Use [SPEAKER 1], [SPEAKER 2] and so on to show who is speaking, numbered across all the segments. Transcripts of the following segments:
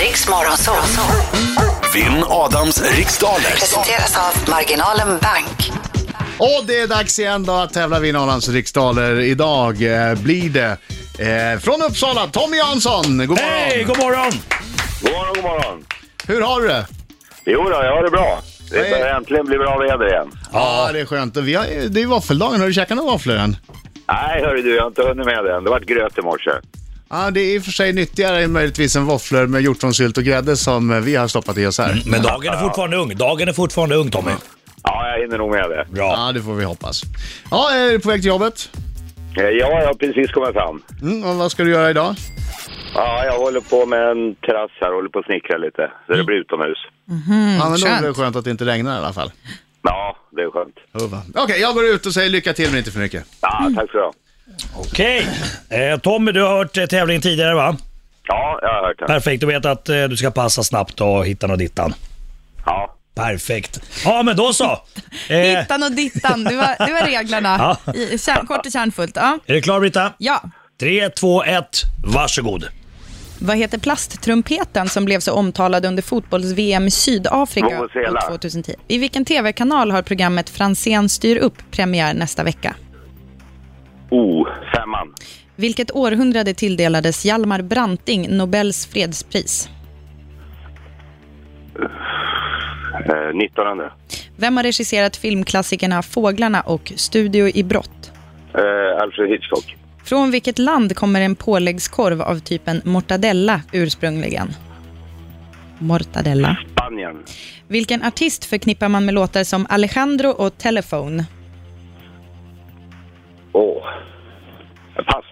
[SPEAKER 1] Riks Morgonzoo.
[SPEAKER 2] Vinn Adams riksdaler.
[SPEAKER 1] Presenteras av Marginalen Bank.
[SPEAKER 3] Och det är dags igen då att tävla vid Norrlands riksdaler. Idag eh, blir det eh, från Uppsala, Tommy Jansson. God morgon!
[SPEAKER 4] Hej, god morgon!
[SPEAKER 5] God morgon, god morgon.
[SPEAKER 3] Hur har du det?
[SPEAKER 5] Jo då, jag har det bra. Det
[SPEAKER 3] Hej.
[SPEAKER 5] börjar äntligen bli bra väder igen.
[SPEAKER 3] Ja, det är skönt. Och Vi har, eh, det är våffeldagen, har du käkat några våfflor än?
[SPEAKER 5] Nej, hörru du, jag har inte hunnit med det än. Det vart gröt i morse.
[SPEAKER 3] Ja, det är i och för sig nyttigare än möjligtvis än våfflor med hjortronsylt och grädde som eh, vi har stoppat i oss här.
[SPEAKER 4] Mm, Men dagen är fortfarande ung. Dagen är fortfarande ung, Tommy.
[SPEAKER 5] Ja, jag hinner nog med det.
[SPEAKER 4] Bra.
[SPEAKER 3] Ja, det får vi hoppas. Ja, är du på väg till jobbet?
[SPEAKER 5] Eh, Ja, jag har precis kommit fram.
[SPEAKER 3] Mm, och vad ska du göra idag?
[SPEAKER 5] Ja, jag håller på med en terrass här, håller på att snickra lite. Så det blir utomhus.
[SPEAKER 3] ja, men då är det
[SPEAKER 6] skönt.
[SPEAKER 3] skönt att det inte regnar i alla fall.
[SPEAKER 5] Ja, det är skönt.
[SPEAKER 3] Hurra. Okej, jag går ut och säger lycka till men inte för mycket.
[SPEAKER 5] Ja, tack så du ha.
[SPEAKER 4] Okej. Eh, Tommy, du har hört eh, tävlingen tidigare va?
[SPEAKER 5] Ja, jag har hört det.
[SPEAKER 4] Perfekt, du vet att eh, du ska passa snabbt och hitta något dittan.
[SPEAKER 5] Ja.
[SPEAKER 4] Perfekt. Ja, men då så. Eh, är
[SPEAKER 6] Hittan och dittan, det var, det var reglerna.
[SPEAKER 4] Ja.
[SPEAKER 6] I, kärn, kort och kärnfullt. Ja.
[SPEAKER 4] du klar Britta?
[SPEAKER 6] ja.
[SPEAKER 4] 3, 2, 1, varsågod.
[SPEAKER 6] Vad heter plasttrumpeten som blev så omtalad under fotbolls-VM i Sydafrika
[SPEAKER 5] Vuvuzela.
[SPEAKER 6] 2010? I vilken tv-kanal har programmet Franzén styr upp premiär nästa vecka?
[SPEAKER 5] Oh, femman.
[SPEAKER 6] Vilket århundrade tilldelades Hjalmar Branting Nobels fredspris?
[SPEAKER 5] Eh, 1900.
[SPEAKER 6] Vem har regisserat filmklassikerna Fåglarna och Studio i brott?
[SPEAKER 5] Eh, Alfred Hitchcock.
[SPEAKER 6] Från vilket land kommer en påläggskorv av typen mortadella ursprungligen? Mortadella.
[SPEAKER 5] Spanien.
[SPEAKER 6] Vilken artist förknippar man med låtar som Alejandro och Telephone?
[SPEAKER 5] Åh. Eh, Pass.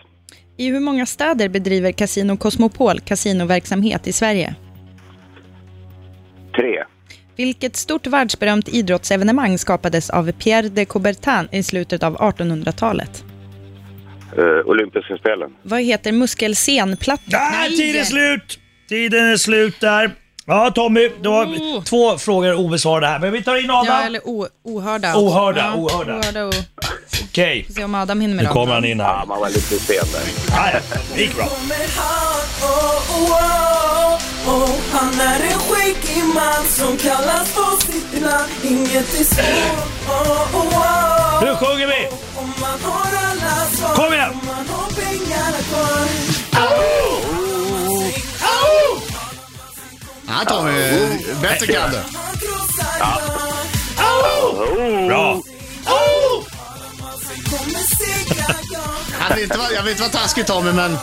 [SPEAKER 6] I hur många städer bedriver Casino Cosmopol kasinoverksamhet i Sverige?
[SPEAKER 5] Tre.
[SPEAKER 6] Vilket stort världsberömt idrottsevenemang skapades av Pierre de Coubertin i slutet av 1800-talet?
[SPEAKER 5] Eh, Olympiska spelen.
[SPEAKER 6] Vad heter muskelscenplattan?
[SPEAKER 4] Där, tiden är slut! Tiden är slut där. Ja, Tommy, du har
[SPEAKER 6] Oh.
[SPEAKER 4] två frågor obesvarade här, men vi tar in Adam.
[SPEAKER 6] Ja, eller o- ohörda.
[SPEAKER 4] Ohörda,
[SPEAKER 6] ja,
[SPEAKER 4] ohörda.
[SPEAKER 6] och...
[SPEAKER 4] Okej.
[SPEAKER 6] Får se om Adam hinner med
[SPEAKER 4] Nu
[SPEAKER 6] dem.
[SPEAKER 4] kommer han in
[SPEAKER 5] Ja,
[SPEAKER 4] här.
[SPEAKER 5] man var lite sen där.
[SPEAKER 4] Ja, ja, det gick bra.
[SPEAKER 7] kommer han, oh, oh, oh, oh. Han är en skäggig man som kallas på sitt namn Inget är svårt, oh, oh, oh.
[SPEAKER 4] Nu sjunger vi!
[SPEAKER 7] Om man har alla svar,
[SPEAKER 4] Kom igen!
[SPEAKER 7] om man har pengarna kvar
[SPEAKER 3] Ja, Tommy,
[SPEAKER 4] Oh.
[SPEAKER 3] bättre kan du.
[SPEAKER 7] Han krossar jag,
[SPEAKER 4] Bra.
[SPEAKER 7] kommer segra jag
[SPEAKER 3] Jag vill, inte vara, jag vill inte vara taskig Tommy, men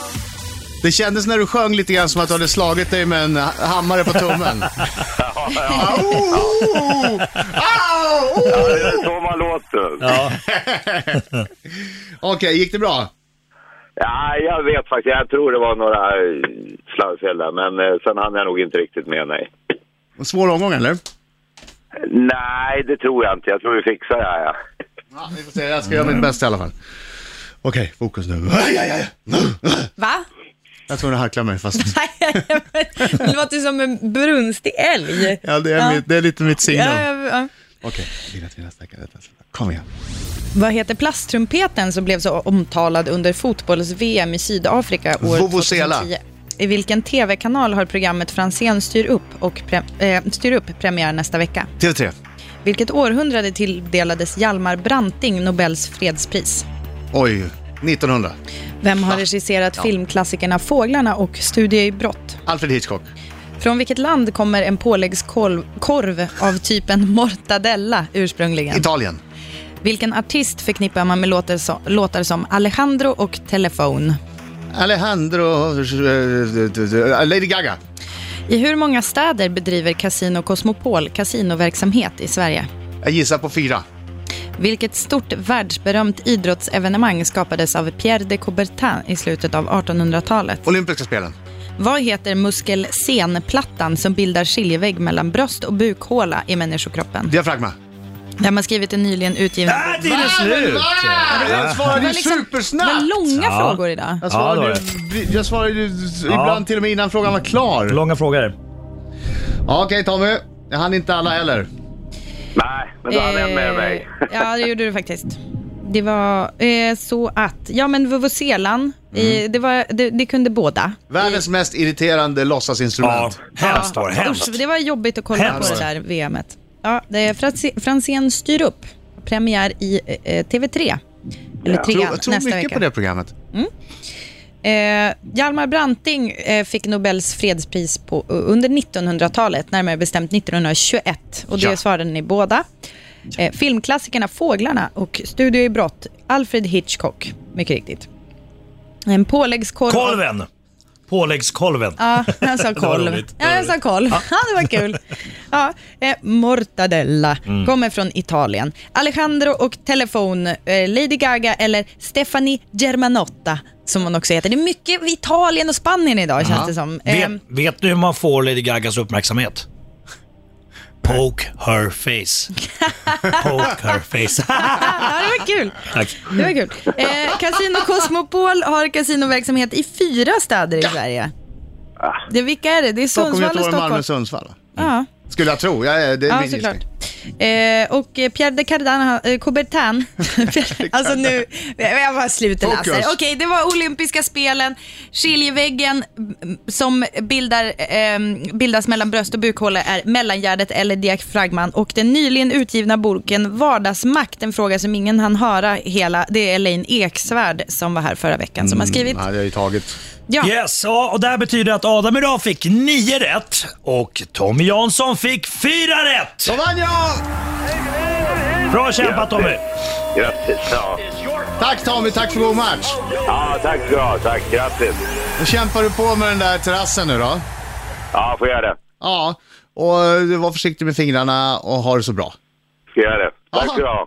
[SPEAKER 3] det kändes när du sjöng lite grann som att du hade slagit dig med en ha- hammare på tummen. Ah, oh, Au! Au!
[SPEAKER 5] Ja, det är så man låter.
[SPEAKER 4] Ja.
[SPEAKER 3] Okej, gick det bra?
[SPEAKER 5] Ja, jag vet faktiskt. Jag tror det var några eh, slarvfel där, men eh, sen hann jag nog inte riktigt med, nej.
[SPEAKER 3] En svår omgång eller?
[SPEAKER 5] Nej, det tror jag inte. Jag tror vi fixar det här, ja.
[SPEAKER 3] Ja, vi får se. Jag ska göra mitt bästa i alla fall. Okej, fokus nu. Aj, aj, aj.
[SPEAKER 6] Va?
[SPEAKER 3] Jag tror du harklar mig fast.
[SPEAKER 6] Nej, det låter som en brunstig älg.
[SPEAKER 3] Ja, det, är
[SPEAKER 6] Ja.
[SPEAKER 3] Mitt, det är lite mitt signum.
[SPEAKER 6] Ja, ja, ja.
[SPEAKER 3] Okej, vinna till nästa vecka. nästa vecka. Kom igen.
[SPEAKER 6] Vad heter plasttrumpeten som blev så omtalad under fotbolls-VM i Sydafrika år
[SPEAKER 3] Vuvuzela.
[SPEAKER 6] 2010? I vilken tv-kanal har programmet Franzén styr upp, och pre- eh, styr upp premiär nästa vecka?
[SPEAKER 3] TV3.
[SPEAKER 6] Vilket århundrade tilldelades Hjalmar Branting Nobels fredspris?
[SPEAKER 3] Oj, 1900.
[SPEAKER 6] Vem har regisserat filmklassikerna Fåglarna och Studie i brott?
[SPEAKER 3] Alfred Hitchcock.
[SPEAKER 6] Från vilket land kommer en påläggskorv korv av typen mortadella ursprungligen?
[SPEAKER 3] Italien.
[SPEAKER 6] Vilken artist förknippar man med låtar, så, låtar som Alejandro och Telefon?
[SPEAKER 3] Alejandro... eh, Lady Gaga.
[SPEAKER 6] I hur många städer bedriver Casino Cosmopol kasinoverksamhet i Sverige?
[SPEAKER 3] Jag gissar på fyra.
[SPEAKER 6] Vilket stort världsberömt idrottsevenemang skapades av Pierre de Coubertin i slutet av 1800-talet?
[SPEAKER 3] Olympiska spelen.
[SPEAKER 6] Vad heter muskelscenplattan som bildar skiljevägg mellan bröst och bukhåla i människokroppen?
[SPEAKER 3] Diafragma.
[SPEAKER 6] Där man skrivit en nyligen utgiven...
[SPEAKER 4] Där, tiden är slut!
[SPEAKER 3] Jag svarade ju
[SPEAKER 6] liksom- Vad
[SPEAKER 3] supersnabbt!
[SPEAKER 6] långa
[SPEAKER 4] Ja.
[SPEAKER 6] frågor idag.
[SPEAKER 3] Jag
[SPEAKER 4] Ja, det var
[SPEAKER 3] svarade, ju- jag svarade ju ibland till och med innan frågan var klar.
[SPEAKER 4] Långa frågor.
[SPEAKER 3] Ja, Okej Tommy, jag hann inte alla heller.
[SPEAKER 5] Nej, men då hann jag med mig.
[SPEAKER 6] Eh, ja, det gjorde du faktiskt. Det var eh, så att, ja men vuvuzelan,
[SPEAKER 4] Mm.
[SPEAKER 6] I, det, var, det, det kunde båda.
[SPEAKER 3] Världens
[SPEAKER 6] Mm.
[SPEAKER 3] mest irriterande
[SPEAKER 4] Ja,
[SPEAKER 3] låtsasinstrument.
[SPEAKER 4] hemskt var det.
[SPEAKER 6] Usch,
[SPEAKER 4] Hemskt.
[SPEAKER 6] det var jobbigt att kolla
[SPEAKER 4] Hemskt.
[SPEAKER 6] på det där VMet. Ja, det är Franzé- Franzén styr upp. Premiär i eh, TV3. Eller
[SPEAKER 3] Tror-
[SPEAKER 6] trean
[SPEAKER 3] Jag tror
[SPEAKER 6] nästa
[SPEAKER 3] mycket
[SPEAKER 6] vecka.
[SPEAKER 3] på det programmet.
[SPEAKER 6] Eh, Hjalmar Branting eh, fick Nobels fredspris på, under 1900-talet, närmare bestämt 1921. Och det
[SPEAKER 3] Ja.
[SPEAKER 6] svarade ni båda. Eh, filmklassikerna Fåglarna och Studio i brott, Alfred Hitchcock, mycket riktigt. En påläggskorv...
[SPEAKER 4] Kolven. Påläggskolven.
[SPEAKER 6] Ja, han sa
[SPEAKER 4] var
[SPEAKER 6] kolv.
[SPEAKER 4] roligt.
[SPEAKER 6] Ja, jag sa kolv. Ja. det var kul. Ja, eh, mortadella kommer från Italien. Alejandro och telefon, eh, Lady Gaga eller Stefani Germanotta som hon också heter. Det är mycket Italien och Spanien idag känns det som. Eh,
[SPEAKER 4] Vet, vet du hur man får Lady Gagas uppmärksamhet? Poke her face. Poke her face.
[SPEAKER 6] ja, det var kul.
[SPEAKER 4] Tack.
[SPEAKER 6] Det var kul. Eh, Casino Cosmopol har kasinoverksamhet i fyra städer i Sverige. Det, vilka är det? Det är
[SPEAKER 3] Stockholm,
[SPEAKER 6] Sundsvall och
[SPEAKER 3] Göteborg, Malmö,
[SPEAKER 6] Stockholm.
[SPEAKER 3] Sundsvall.
[SPEAKER 6] Ja.
[SPEAKER 3] Skulle jag tro. Jag, är- det är
[SPEAKER 6] Ja,
[SPEAKER 3] min
[SPEAKER 6] såklart.
[SPEAKER 3] gissning.
[SPEAKER 6] Eh, och eh, Pierre de Cardin, eh, Coubertin. alltså nu, jag bara slutar läsa.
[SPEAKER 3] Fokus.
[SPEAKER 6] Okej, det var olympiska spelen, skiljeväggen mm, som bildar, ehm, bildas mellan bröst och bukhåla är mellangärdet eller diafragman och den nyligen utgivna boken Vardagsmakt, en fråga som ingen hann höra hela, det är Elaine Eksvärd som var här förra veckan som har skrivit.
[SPEAKER 3] Ja, det har jag ju tagit.
[SPEAKER 6] Ja.
[SPEAKER 4] Yes, ja, och det här betyder att Adam idag fick nio rätt och Tommy Jansson fick fyra rätt.
[SPEAKER 3] Då vann jag!
[SPEAKER 4] Bra kämpat Tommy!
[SPEAKER 5] Grattis. Ja,
[SPEAKER 3] Tack Tommy, tack för god match.
[SPEAKER 5] ja tack ska du ha. Tack. Grattis.
[SPEAKER 3] Då kämpar du på med den där terrassen nu då.
[SPEAKER 5] Ja, får göra det.
[SPEAKER 3] Ja, och eh, var försiktig med fingrarna och ha det så bra.
[SPEAKER 5] Får göra det. Tack
[SPEAKER 3] Aha.
[SPEAKER 5] ska du ha.